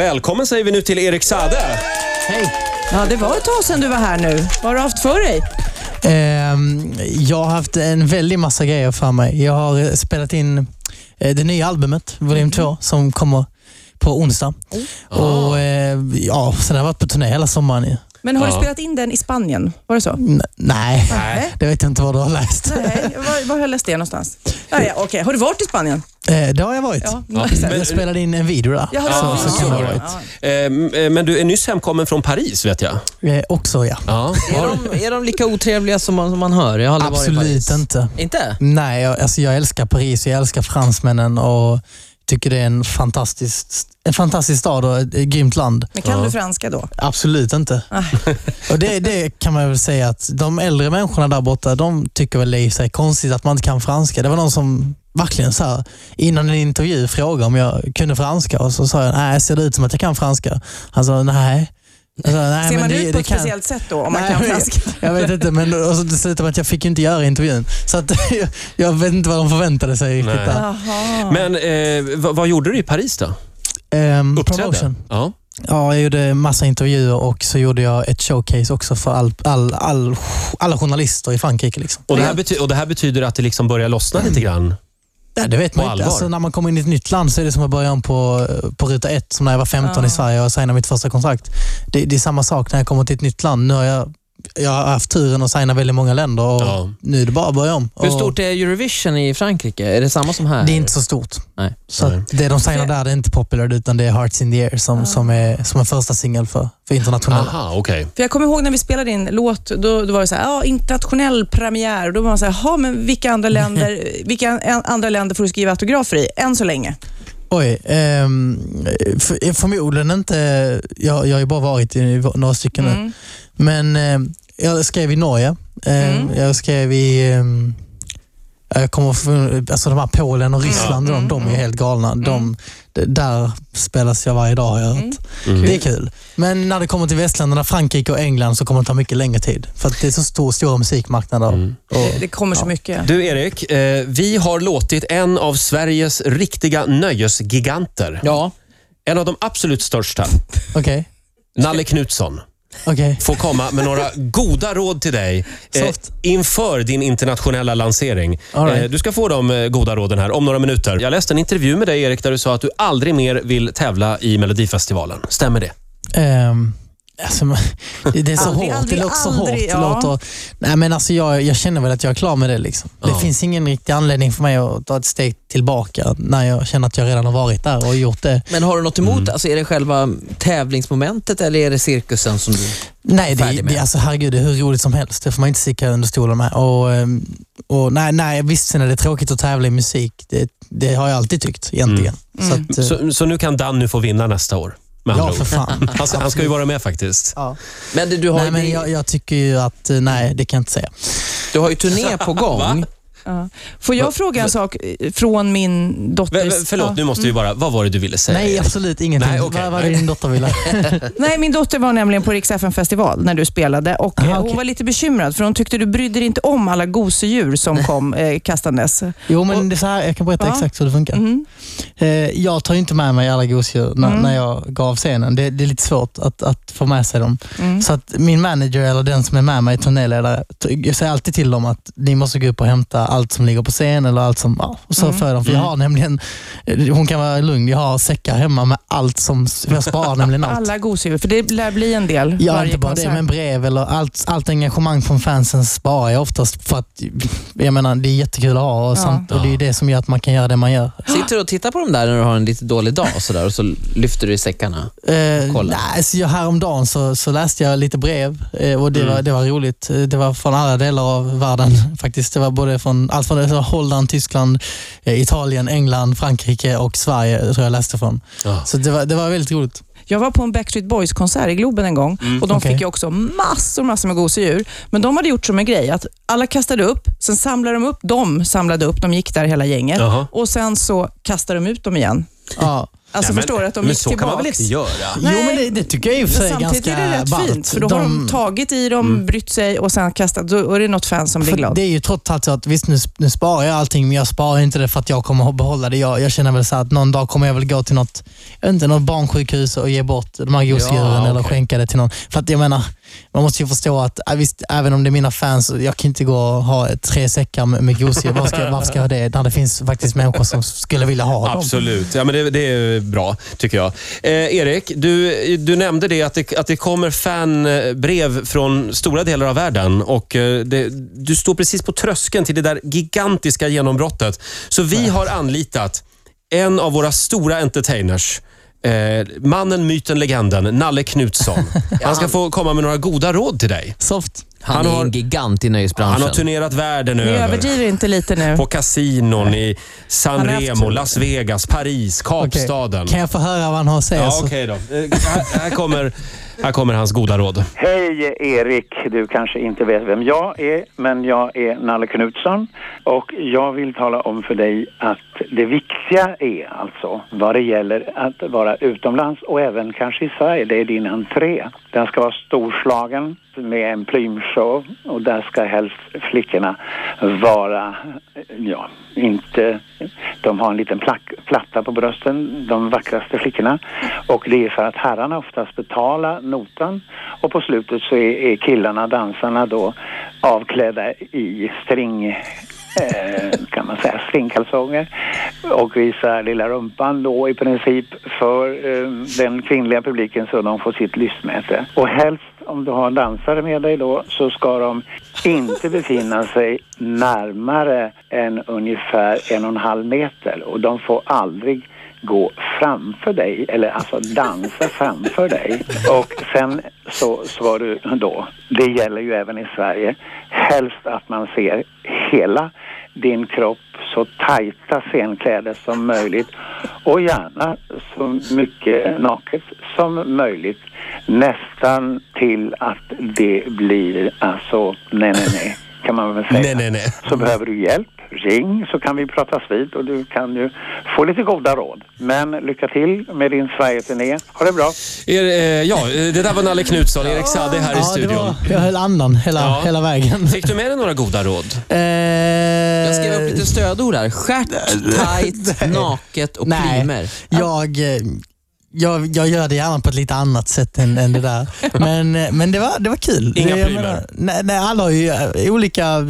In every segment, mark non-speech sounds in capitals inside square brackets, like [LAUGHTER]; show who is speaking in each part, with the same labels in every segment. Speaker 1: Välkommen säger vi nu till Erik Sade.
Speaker 2: Hej!
Speaker 3: Ja, det var ett tag sedan du var här nu. Vad har du haft för dig?
Speaker 2: Ehm, jag har haft en väldig massa grejer för mig. Jag har eh, spelat in eh, det nya albumet, volym
Speaker 3: Mm.
Speaker 2: 2, som kommer på onsdag. Och eh, ja, Sen har jag varit på turné hela sommaren. ju.
Speaker 3: Men har
Speaker 1: Ja.
Speaker 3: du spelat in den i Spanien? Var det så?
Speaker 2: N- nej,
Speaker 3: Nej.
Speaker 2: det vet jag inte vad du har läst.
Speaker 3: Nej, var, var har jag läst det någonstans? Nej, ja, okej. Har du varit i Spanien?
Speaker 2: Eh, det har jag varit.
Speaker 3: Ja.
Speaker 1: Men-
Speaker 2: Jag spelade in en video där.
Speaker 3: Jag har
Speaker 1: Ja,
Speaker 3: varit.
Speaker 1: så kan det ha varit. Ehm, eh, Men du är nyss hemkommen från Paris vet jag.
Speaker 2: Eh, också ja.
Speaker 1: Ja.
Speaker 4: Är de, är de lika otrevliga som man, som man hör? Jag har aldrig varit i
Speaker 2: Absolut
Speaker 4: Paris.
Speaker 2: inte.
Speaker 4: Inte?
Speaker 2: Nej, jag, alltså jag älskar Paris och jag älskar fransmännen och tycker det är en fantastisk, en fantastisk stad och ett, ett grymt land.
Speaker 3: Men kan
Speaker 1: Ja.
Speaker 3: du franska då?
Speaker 2: Absolut inte. [LAUGHS] Och det, det kan man väl säga att de äldre människorna där borta, de tycker väl det är i sig konstigt att man inte kan franska. Det var någon som verkligen så här, innan en intervju frågade om jag kunde franska och så sa jag, nej, ser det ut som att jag kan franska? Han sa, nej. Jag sa, nej
Speaker 3: Ser
Speaker 2: men
Speaker 3: man
Speaker 2: det,
Speaker 3: ut på
Speaker 2: det
Speaker 3: ett
Speaker 2: kan...
Speaker 3: speciellt sätt då om man
Speaker 2: Nej,
Speaker 3: kan
Speaker 2: men-
Speaker 3: franska?
Speaker 2: Jag vet inte, men och så dessutom att jag fick ju inte göra intervjun. Så att, [LAUGHS] jag, jag vet inte vad de förväntade sig riktigt
Speaker 1: Nej.
Speaker 2: där.
Speaker 3: Jaha.
Speaker 1: Men eh, vad, vad gjorde du i Paris då?
Speaker 2: Ehm,
Speaker 1: Uppträdde?
Speaker 2: promotion.
Speaker 1: Ja.
Speaker 2: Ja, jag gjorde massa intervjuer och så gjorde jag ett showcase också för all, all, all, alla journalister i Frankrike. Liksom.
Speaker 1: Och det, här bety- och det här betyder att det liksom börjar lossna lite grann?
Speaker 2: Ja, det vet
Speaker 1: På
Speaker 2: man inte.
Speaker 1: allvar.
Speaker 2: Alltså, när man kommer in i ett nytt land så är det som att börja om på, på ruta ett, som när jag var 15
Speaker 3: Ja.
Speaker 2: i Sverige och signade mitt första kontrakt. Det, det är samma sak när jag kommer till ett nytt land. Nu har jag, jag har haft turen att signa väldigt många länder och
Speaker 1: Ja.
Speaker 2: nu är det bara att börja om.
Speaker 4: Hur
Speaker 2: Och
Speaker 4: stort är Eurovision i Frankrike? Är det samma som här?
Speaker 2: det är inte så stort.
Speaker 4: Nej.
Speaker 2: Så
Speaker 1: Nej.
Speaker 2: att det de signar där det är inte popular utan det är Hearts in the Air som, som, är, som är första singel för, för internationella.
Speaker 1: Aha, okej.
Speaker 3: För jag kommer ihåg när vi spelade in låt, då, då var det så här, ja, internationell premiär. Och Då var man så här, "Jaha, men vilka [LAUGHS] andra länder, vilka an- andra länder får du skriva autografer i, än så länge?
Speaker 2: Oj, ehm, för, förmodligen inte. Jag, jag har ju bara varit i några stycken nu.
Speaker 3: Mm.
Speaker 2: Men eh, jag skrev i Norge. Eh,
Speaker 3: Mm.
Speaker 2: Jag skrev i... Eh, jag kommer från, alltså de här Polen och Ryssland,
Speaker 3: Mm,
Speaker 2: de, de är
Speaker 3: mm,
Speaker 2: ju helt galna. De, d- där spelas jag varje dag har jag hört.
Speaker 1: Mm.
Speaker 2: Det är kul. Men när det kommer till västländerna, Frankrike och England så kommer det ta mycket längre tid. För att det är så stor, stora musikmarknader.
Speaker 1: Mm.
Speaker 2: Och,
Speaker 3: Det, det kommer så mycket.
Speaker 1: Du Erik, eh, vi har låtit en av Sveriges riktiga nöjesgiganter,
Speaker 4: Ja.
Speaker 1: en av de absolut största,
Speaker 2: Okej,
Speaker 1: Nalle Knutsson,
Speaker 2: okej.
Speaker 1: få komma med några goda råd till dig eh,
Speaker 2: Soft.
Speaker 1: inför din internationella lansering.
Speaker 2: All right.
Speaker 1: Eh, du ska få de eh, goda råden här om några minuter. Jag läste en intervju med dig Erik där du sa att du aldrig mer vill tävla i Melodifestivalen. Stämmer det?
Speaker 2: Ehm, alltså, man- det, det är så
Speaker 3: Aldrig,
Speaker 2: hårt.
Speaker 3: aldrig,
Speaker 2: det låter så
Speaker 3: aldrig,
Speaker 2: hårt. Det
Speaker 3: ja.
Speaker 2: låter, nej, men alltså, jag, jag känner väl att jag är klar med det. Liksom.
Speaker 1: Ja.
Speaker 2: Det finns ingen riktig anledning för mig att ta ett steg tillbaka när jag känner att jag redan har varit där och gjort det.
Speaker 4: Men har du något emot, alltså, är det själva tävlingsmomentet eller är det cirkusen som du...
Speaker 2: Nej, det,
Speaker 4: Färdig med.
Speaker 2: det, alltså, herregud, det är hur roligt som helst. Det får man inte sticka under stolen med. Och, ehm, och, nej, nej, visst, sen är det tråkigt att tävla i musik. Det, det har jag alltid tyckt egentligen.
Speaker 3: Mm.
Speaker 2: Så att, eh,
Speaker 1: Så, så nu kan Danny få vinna nästa år. Med andra
Speaker 2: ja, för
Speaker 1: ord.
Speaker 2: [LAUGHS] fan.
Speaker 1: Han, ska- han ska ju vara med faktiskt.
Speaker 2: Ja.
Speaker 4: Men du, du, har,
Speaker 2: Alltså, Nej, men
Speaker 4: ju,
Speaker 2: jag, jag tycker ju att, eh, nej, det kan jag inte säga.
Speaker 4: du har ju [LAUGHS] turné på gång.
Speaker 3: Ja. Får jag fråga en sak eh, från min
Speaker 1: Vä-
Speaker 3: dotters...
Speaker 1: vä- förlåt,
Speaker 3: Ja.
Speaker 1: nu måste vi bara... Vad var det du ville säga?
Speaker 2: Nej,
Speaker 1: Erik?
Speaker 2: absolut ingenting.
Speaker 1: Nej, okej,
Speaker 2: Vad var det
Speaker 1: nej.
Speaker 2: din dotter ville?
Speaker 3: Nej, min dotter var nämligen på Rix FM festival när du spelade och eh,
Speaker 2: Aha,
Speaker 3: hon
Speaker 2: Ah, okej.
Speaker 3: var lite bekymrad för hon tyckte du brydde dig inte om alla gosedjur som kom eh, kastandes.
Speaker 2: Jo, men det är så här, jag kan berätta
Speaker 3: Ja.
Speaker 2: exakt hur det funkar.
Speaker 3: Mhm.
Speaker 2: Eh, jag tar ju inte med mig alla gosedjur när,
Speaker 3: Mm.
Speaker 2: när jag går av scenen. Det, det är lite svårt att, att få med sig dem.
Speaker 3: Mm.
Speaker 2: Så att min manager eller den som är med mig, turnéledare, t- jag säger alltid till dem att ni måste gå upp och hämta allt som ligger på scen eller allt som, ja, och så
Speaker 3: Mm.
Speaker 2: får jag dem. För jag har nämligen, eh, hon kan vara lugn, jag har säckar hemma med allt som, för jag sparar nämligen allt.
Speaker 3: Alla gosedjur, för det lär bli en del
Speaker 2: Ja,
Speaker 3: varje
Speaker 2: inte bara
Speaker 3: konsert.
Speaker 2: det, men brev eller allt, allt engagemang från fansen sparar jag oftast för att jag menar, det är jättekul att ha och,
Speaker 3: Ja.
Speaker 2: sånt, och det är ju det som gör att man kan göra det man gör.
Speaker 4: Sitter du och tittar på dem där när du har en lite dålig dag och, så där, och så lyfter du i säckarna?
Speaker 2: Eh,
Speaker 4: Kolla.
Speaker 2: nej, så jag, häromdagen så, så läste jag lite brev eh, och det, var, det var roligt. Eh, Det var från alla delar av världen faktiskt. Det var både från allt från det var Holland, Tyskland, eh, Italien, England, Frankrike och Sverige tror jag läste från.
Speaker 1: Ja.
Speaker 2: Så det var, det var väldigt roligt.
Speaker 3: Jag var på en Backstreet Boys-konsert i Globen en gång och
Speaker 2: Mm,
Speaker 3: de
Speaker 2: Okej.
Speaker 3: fick ju också massor, massor med gosedjur. Men de hade gjort som en grej att alla kastade upp, sen samlade de upp
Speaker 2: Alltså,
Speaker 3: de samlade upp, de gick där hela gänget
Speaker 1: Jaha.
Speaker 3: och sen så kastade de ut dem igen.
Speaker 2: Ja.
Speaker 3: Alltså
Speaker 1: Nej,
Speaker 3: förstår
Speaker 1: men,
Speaker 3: att de
Speaker 1: men
Speaker 3: gick
Speaker 1: så
Speaker 3: tillbaka.
Speaker 1: kan man väl inte göra?
Speaker 3: Nej.
Speaker 2: Jo, men det, det tycker jag i och för sig är
Speaker 3: samtidigt
Speaker 2: ganska
Speaker 3: är det rätt
Speaker 2: ballt.
Speaker 3: fint, för då har de tagit i dem, brytt sig och sen kastat. Då är det något fan som blir
Speaker 2: för
Speaker 3: glad.
Speaker 2: det är ju trots allt så att visst nu, nu sparar jag allting men jag sparar inte det för att jag kommer att behålla det. Jag, jag känner väl så här att någon dag kommer jag väl gå till något, inte något barnsjukhus och ge bort de här gosedjuren
Speaker 1: Ja,
Speaker 2: eller
Speaker 1: okej.
Speaker 2: skänka det till någon. För att jag menar, man måste ju förstå att äh, visst, även om det är mina fans, jag kan inte gå och ha ett- tre säckar med, med gosedjur. Varför ska, varför ska jag ha det när det finns faktiskt människor som skulle vilja ha dem?
Speaker 1: Absolut. Ja, men det, det är bra, tycker jag. Eh, Erik, du, du nämnde det att, det att det kommer fanbrev från stora delar av världen. Och eh, det, du står precis på tröskeln till det där gigantiska genombrottet. Så vi har anlitat en av våra stora entertainers. Eh, mannen, myten, legenden, Nalle
Speaker 3: [LAUGHS]
Speaker 1: Knutsson. Han ska få komma med några goda råd till dig.
Speaker 2: Soft.
Speaker 4: Han,
Speaker 1: Han
Speaker 4: är
Speaker 1: har-
Speaker 4: en gigant i nöjesbranschen.
Speaker 1: Han har turnerat världen
Speaker 3: Ni
Speaker 1: över.
Speaker 3: överdriver inte lite nu.
Speaker 1: På kasinon i San
Speaker 3: Han har haft-
Speaker 1: Remo, Las Vegas, Paris,
Speaker 2: Okej.
Speaker 1: Kapstaden.
Speaker 2: Kan jag få höra vad han har att säga?
Speaker 1: Ja,
Speaker 2: så-
Speaker 1: okej då. Eh, Här, här, kommer, här kommer hans goda råd.
Speaker 5: Hej Erik, du kanske inte vet vem jag är, men jag är Nalle Knutsson och jag vill tala om för dig att det viktiga är alltså vad det gäller att vara utomlands och även kanske i Sverige, det är din entré. Den ska vara storslagen med en plymshow och där ska helst flickorna vara, ja, inte, de har en liten plack, platta på brösten, de vackraste flickorna. Och det är för att herrarna oftast betalar notan och på slutet så är, är killarna, dansarna då avklädda i string, eh, kan man säga, stringkalsonger och visar lilla rumpan då i princip för eh, den kvinnliga publiken så de får sitt lystmäte. Och helst om du har en dansare med dig då så ska de inte befinna sig närmare än ungefär en och en halv meter och de får aldrig gå framför dig, eller alltså dansa framför dig. Och sen så svarar du då, det gäller ju även i Sverige, helst att man ser hela din kropp så tajta scenkläder som möjligt och gärna så mycket naket som möjligt. Nästan till att det blir alltså nej, nej, nej kan man väl säga
Speaker 1: Nej, nej, nej.
Speaker 5: så behöver du hjälp, ring så kan vi pratas vid och du kan ju få lite goda råd. Men lycka till med din Sverige-turné. Ha det bra!
Speaker 1: Er, eh, ja, eh, det där var Nalle Knutsson, Erik Sade här i
Speaker 2: Ja, det
Speaker 1: studion.
Speaker 2: var, jag höll andan hela,
Speaker 1: Ja.
Speaker 2: hela vägen.
Speaker 1: Fick du med dig några goda råd?
Speaker 2: Eh,
Speaker 4: Jag skrev upp lite stödord här. [LAUGHS] Stjärt, tajt, naket och
Speaker 2: Nej.
Speaker 4: plymer.
Speaker 2: Jag, eh, jag, jag gör det gärna på ett lite annat sätt än, än det där. Men, eh, men det, var, det var kul.
Speaker 1: Inga
Speaker 2: Det- jag
Speaker 1: prylar.
Speaker 2: menar, nej, nej, alla har ju eh, olika eh,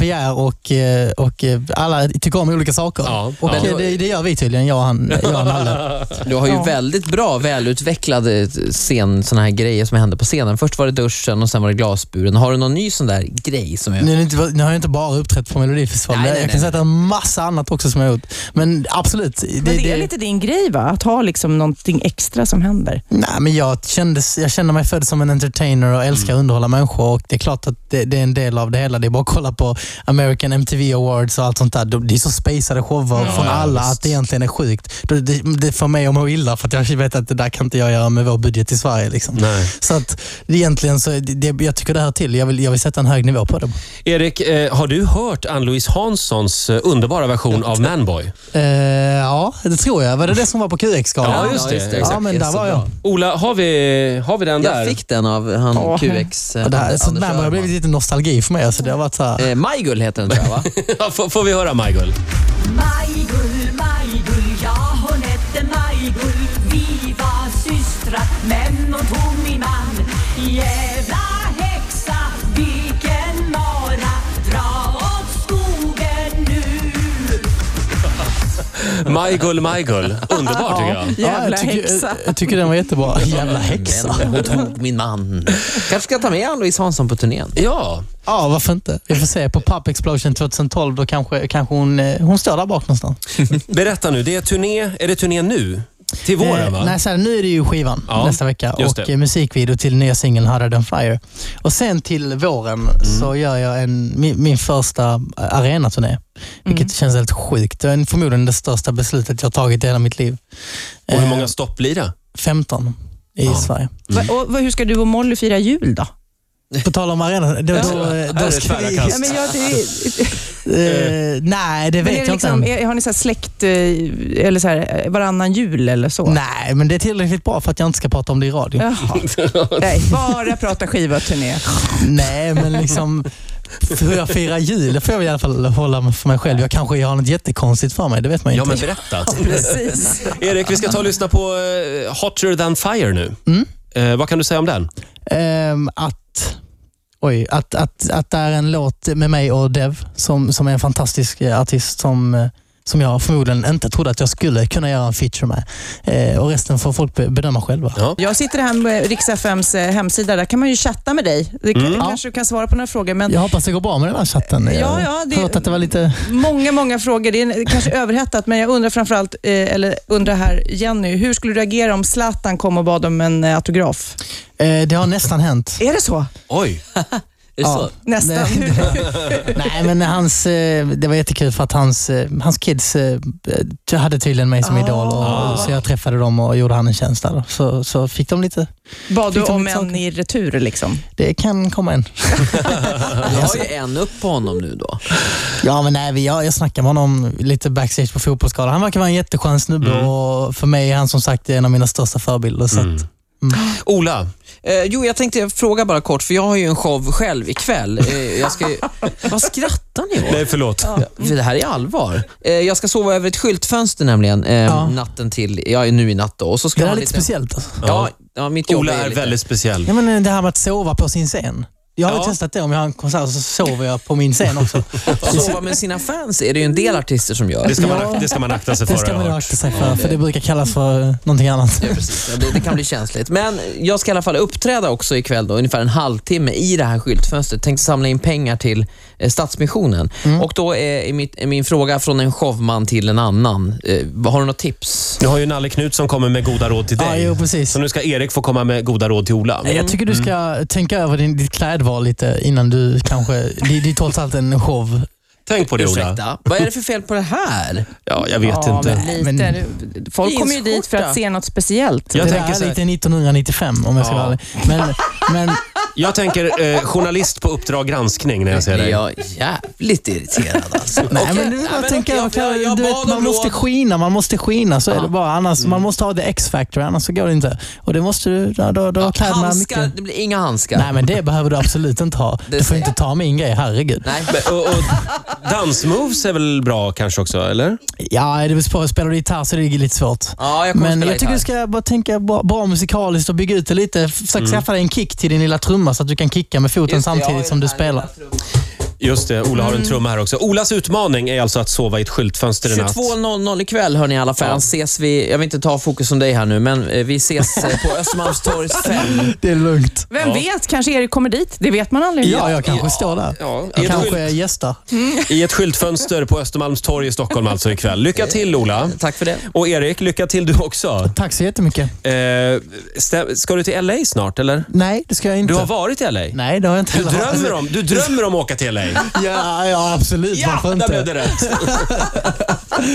Speaker 2: begär och, eh, och eh, alla tycker om olika saker.
Speaker 1: Ja,
Speaker 2: och
Speaker 1: ja.
Speaker 2: eh, Det, det gör vi tydligen, jag och, han, jag och Nalle.
Speaker 4: Du har ju
Speaker 3: Ja.
Speaker 4: väldigt bra välutvecklade scen, såna här grejer som hände på scenen. Först var det duschen och sen var det glasburen. Har du någon ny sån där grej som är...
Speaker 2: Nu, är det inte- nu har jag inte bara uppträtt på Melodifestivalen.
Speaker 4: Nej,
Speaker 2: Jag
Speaker 4: nej,
Speaker 2: kan
Speaker 4: nej,
Speaker 2: säga att det är en massa annat också som jag har gjort. Men absolut. Det,
Speaker 3: Men det är lite din grej va? Att ha liksom någonting extra som händer.
Speaker 2: Nej, men jag, kändes, jag kände mig född som en entertainer och älskar att underhålla människor. Och det är klart att det, det är en del av det hela. Det är bara att kolla på American MTV Awards och allt sånt där. De- Det är så spacade shower från
Speaker 1: ja,
Speaker 2: alla
Speaker 1: visst.
Speaker 2: att det egentligen är sjukt. Det, det, det får mig att må illa för att jag vet att det där kan inte jag göra med vår budget i Sverige. Liksom.
Speaker 1: Nej.
Speaker 2: Så att det, egentligen så, är det, det, jag tycker det hör till. Jag vill, jag vill sätta en hög nivå på det.
Speaker 1: Erik, eh, har du hört Ann-Louise Hanssons eh, underbara version av Manboy?
Speaker 2: Eh, ja, det tror jag. Var det det som var på QX-galan?
Speaker 1: Ja, just det.
Speaker 2: Ja, men där var jag.
Speaker 1: Ola, har vi, har vi den där?
Speaker 4: Jag fick den av han
Speaker 3: Ja.
Speaker 4: QX. eh,
Speaker 2: Och det här, sånt där har
Speaker 4: Öhrman.
Speaker 2: blivit lite nostalgi för mig. Alltså, det har varit så här,
Speaker 4: Eh, Majgull heter den tror
Speaker 2: [LAUGHS]
Speaker 4: jag va?
Speaker 1: [LAUGHS] Ja, får, får vi höra, Michael?
Speaker 6: Majgull, Majgull, ja hon hette Majgull Vi var systrar, men hon tog min man Jävla häxa, vilken mara Dra åt skogen nu
Speaker 1: Michael, Michael. Underbar, tycker jag.
Speaker 2: Ja,
Speaker 3: Jävla
Speaker 2: jag tycker,
Speaker 3: häxa.
Speaker 2: Jag, jag tycker den
Speaker 1: [LAUGHS]
Speaker 2: var jättebra. Jävla häxa.
Speaker 4: Men hon tog min man. Kanske ska jag ta med Ann-Louise Hansson på turnén.
Speaker 1: Ja,
Speaker 2: Ja, varför inte? Vi får se. På Pub Explosion 2012, då kanske, kanske hon, eh, hon står där bak någonstans.
Speaker 1: berätta nu. Det är, turné, är det turné nu? Till våren, va?
Speaker 2: Eh, nej, så här, nu är det ju skivan
Speaker 1: Ja,
Speaker 2: nästa vecka
Speaker 1: just
Speaker 2: och
Speaker 1: det.
Speaker 2: eh, musikvideo till nya singeln Harder than fire. Och sen till våren
Speaker 1: Mm.
Speaker 2: så gör jag en, min, min första eh, arenaturné, vilket känns helt sjukt. Det är förmodligen det största beslutet jag tagit i hela mitt liv.
Speaker 1: Och hur
Speaker 2: Eh,
Speaker 1: många stopp blir det?
Speaker 2: 15 i Sverige.
Speaker 3: Va, och, vad- hur ska du och Molly fira jul då?
Speaker 2: På tal om arenan. Då, då,
Speaker 1: Här är
Speaker 2: då ska
Speaker 1: tvära
Speaker 2: vi,
Speaker 1: kast.
Speaker 3: Ja, men jag, det,
Speaker 2: eh, nej, det
Speaker 3: men
Speaker 2: vet
Speaker 3: är
Speaker 2: jag
Speaker 3: Alltså, det liksom,
Speaker 2: inte än.
Speaker 3: är, har ni så här släkt eh, eller så här, eh, varannan jul eller så?
Speaker 2: Nej, men det är tillräckligt bra för att jag inte ska prata om det i radio.
Speaker 3: Jaha. Nej, bara prata skiva och turné.
Speaker 2: [LAUGHS] Nej, men liksom hur jag firar jul, det får jag väl i alla fall hålla för mig själv. Jag kanske har något jättekonstigt för mig, det vet man ju
Speaker 1: Ja,
Speaker 2: inte.
Speaker 1: men
Speaker 2: [LAUGHS]
Speaker 1: berätta.
Speaker 3: Precis.
Speaker 1: Erik, vi ska ta och lyssna på eh, Hotter than fire nu. Eh, vad kan du säga om den?
Speaker 2: Ehm, att, oj, att, att, att det är en låt med mig och Dev som, som är en fantastisk eh, artist som, eh, som jag förmodligen inte trodde att jag skulle kunna göra en feature med. Eh, och resten får folk be- bedöma själva.
Speaker 1: Ja.
Speaker 3: Jag sitter här med Rix FMs eh, hemsida. Där kan man ju chatta med dig. Det
Speaker 2: Mm.
Speaker 3: kan, kanske du kan svara på några frågor. Men
Speaker 2: Jag hoppas det går bra med den här chatten. Jag
Speaker 3: Ja, ja, det-
Speaker 2: har hört att det var lite...
Speaker 3: Många, många frågor. Det är en- kanske överhettat, men jag undrar framförallt, eh, eller undrar här Jenny, hur skulle du reagera om Zlatan kom och bad om en eh, autograf?
Speaker 2: Eh, det har nästan hänt.
Speaker 3: Är det så?
Speaker 1: Oj.
Speaker 4: det så?
Speaker 3: Nästan.
Speaker 2: Nej,
Speaker 3: Hur- [LAUGHS]
Speaker 2: Nej, men hans, eh, det var jättekul för att hans, eh, hans kids eh, t- hade tydligen mig som
Speaker 3: Ah.
Speaker 2: idol. Och, så jag träffade dem och gjorde han en tjänst där. då. Så, så fick de lite...
Speaker 3: Bad du
Speaker 2: Fick de
Speaker 3: om
Speaker 2: lite
Speaker 3: en
Speaker 2: saker?
Speaker 3: i retur liksom?
Speaker 2: Det kan komma en.
Speaker 4: Du har ju en upp på honom nu då.
Speaker 2: Ja, men nej, vi- jag, jag snackade med honom lite backstage på fotbollsskalan. Han verkar vara en jätteskön snubbe och för mig är han som sagt en av mina största förebilder. Så att,
Speaker 1: Ola,
Speaker 4: Eh, jo, jag tänkte fråga bara kort, för jag har ju en show själv ikväll. Eh, jag
Speaker 2: [LAUGHS]
Speaker 4: ska ju... Vad skrattar ni åt?
Speaker 1: nej förlåt.
Speaker 4: För det här är allvar. Eh, jag ska sova över ett skyltfönster nämligen, eh, natten till, ja nu i natt då. Och så ska
Speaker 2: det där
Speaker 4: jag
Speaker 2: är
Speaker 4: ha
Speaker 2: lite speciellt. Alltså.
Speaker 4: Ja, ja, mitt jobb
Speaker 1: Ola
Speaker 4: är
Speaker 1: är
Speaker 4: lite...
Speaker 1: väldigt speciell.
Speaker 2: Ja, men eh, det här med att sova på sin scen. Jag har ju
Speaker 4: Ja.
Speaker 2: testat det. Om jag har en konsert så sover jag på min scen [LAUGHS] också.
Speaker 4: Sova med sina fans är det ju en del artister som gör.
Speaker 1: Det ska, man,
Speaker 2: Ja.
Speaker 1: ak- det ska man akta sig för.
Speaker 2: Det ska
Speaker 1: har
Speaker 2: man
Speaker 1: jag
Speaker 2: ju
Speaker 1: hört.
Speaker 2: akta sig för, för det brukar kallas för eh, någonting [LAUGHS] annat.
Speaker 4: Ja, precis. Ja, Det, det kan bli känsligt. Men jag ska i alla fall uppträda också ikväll, då, ungefär en halvtimme i det här skyltfönstret. Tänkte samla in pengar till eh, Stadsmissionen.
Speaker 2: Mm.
Speaker 4: Och då är, är, mitt, är min fråga från en showman till en annan. Eh, vad- har du något tips?
Speaker 1: Nu har ju Nalle Knut som kommer med goda råd till
Speaker 2: Ja,
Speaker 1: dig.
Speaker 2: jo, precis.
Speaker 1: Så nu ska Erik få komma med goda råd till Ola. Mm.
Speaker 2: Jag tycker
Speaker 4: Mm.
Speaker 2: du ska tänka över din, ditt klädval lite innan du kanske... Det, det är trots allt en show.
Speaker 1: Tänk på det Ola.
Speaker 4: Ursäkta, vad är det för fel på det här?
Speaker 1: Ja, jag vet
Speaker 3: Ja,
Speaker 1: inte.
Speaker 3: men lite. Du- Folk kommer ju dit för att se något speciellt.
Speaker 1: Jag
Speaker 2: det
Speaker 1: tänker
Speaker 2: där
Speaker 1: så
Speaker 2: är
Speaker 1: här.
Speaker 2: lite 1995 om jag ska
Speaker 1: Ja.
Speaker 2: vara ärlig.
Speaker 4: [LAUGHS]
Speaker 2: Men, men
Speaker 1: Jag tänker eh, journalist på Uppdrag granskning när jag ser
Speaker 4: Är
Speaker 1: dig.
Speaker 4: jag jävligt irriterad alltså.
Speaker 2: Nej,
Speaker 4: Okej,
Speaker 2: men du
Speaker 4: nej,
Speaker 2: vill bara
Speaker 4: men
Speaker 2: tänka,
Speaker 4: jag- jag- jag
Speaker 2: du vet,
Speaker 4: bad om
Speaker 2: man måste
Speaker 4: lov. Mm.
Speaker 2: skina, man måste skina. Så är det bara. Annars, Man måste ha the X-factor, annars så går det inte. Och det måste du, då, då, då har kläderna
Speaker 4: Handskar,
Speaker 2: mycket.
Speaker 4: det blir inga handskar.
Speaker 2: Nej, men det behöver du absolut inte ha.
Speaker 4: Det
Speaker 2: Du får
Speaker 4: ser
Speaker 2: inte ta min grej, herregud.
Speaker 4: Nej.
Speaker 1: Men, och, och, dansmoves är väl bra kanske också, eller?
Speaker 2: Ja, det är väl svårt. Spelar du gitarr så är det lite svårt.
Speaker 4: Ja, jag kommer
Speaker 2: Men
Speaker 4: spela
Speaker 2: jag tycker
Speaker 4: gitarr.
Speaker 2: du ska bara tänka bra, bra musikaliskt och bygga ut det lite. Försök
Speaker 1: Mm.
Speaker 2: skaffa dig en kick till din lilla trumma så att du kan kicka med foten
Speaker 4: Just det, jag har ju
Speaker 2: samtidigt som du
Speaker 4: den här lilla
Speaker 2: spelar.
Speaker 4: trumman.
Speaker 1: Just det, Ola har en trumma här också. Olas utmaning är alltså att sova i ett skyltfönster i natt.
Speaker 4: 22.00 ikväll hörni i alla fall. Ses vi, jag vill inte ta fokus om dig här nu, men eh, vi ses eh, på Östermalmstorgs 5.
Speaker 1: Mm.
Speaker 2: Det är lugnt.
Speaker 3: Vem vet, kanske Erik kommer dit. Det vet man aldrig.
Speaker 2: Ja, jag kanske står där.
Speaker 1: Ja, i
Speaker 2: jag
Speaker 1: ett,
Speaker 2: kanske
Speaker 1: skylt,
Speaker 2: är gästar.
Speaker 1: I ett skyltfönster på Östermalmstorg i Stockholm alltså ikväll. Lycka till Ola.
Speaker 4: Tack för det.
Speaker 1: Och Erik, lycka till du också.
Speaker 2: Tack så jättemycket.
Speaker 1: Eh, stä- ska du till LA snart eller?
Speaker 2: Nej, det ska jag inte.
Speaker 1: Du har varit i LA?
Speaker 2: Nej, det har jag inte.
Speaker 1: Du drömmer om, du drömmer om att åka till LA?
Speaker 2: [LAUGHS] Ja, ja absolut. Varför
Speaker 1: där blev
Speaker 2: inte?
Speaker 1: det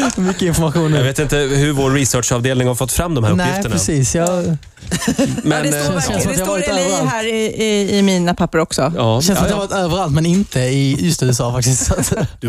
Speaker 1: rätt.
Speaker 2: Mycket information
Speaker 1: Jag
Speaker 2: nu.
Speaker 1: vet inte hur vår researchavdelning har fått fram de här
Speaker 2: Nej,
Speaker 1: uppgifterna.
Speaker 2: precis. Jag,
Speaker 1: Men,
Speaker 3: det står,
Speaker 1: eh,
Speaker 2: känns som
Speaker 3: verkligen,
Speaker 2: att
Speaker 3: det
Speaker 2: jag
Speaker 3: står
Speaker 2: varit
Speaker 3: LA
Speaker 2: överallt.
Speaker 3: här i, i, i mina papper också.
Speaker 1: ja.
Speaker 2: känns som
Speaker 1: Ja,
Speaker 2: att jag
Speaker 1: ja.
Speaker 2: har varit överallt, men inte i just USA faktiskt. [LAUGHS] Så att-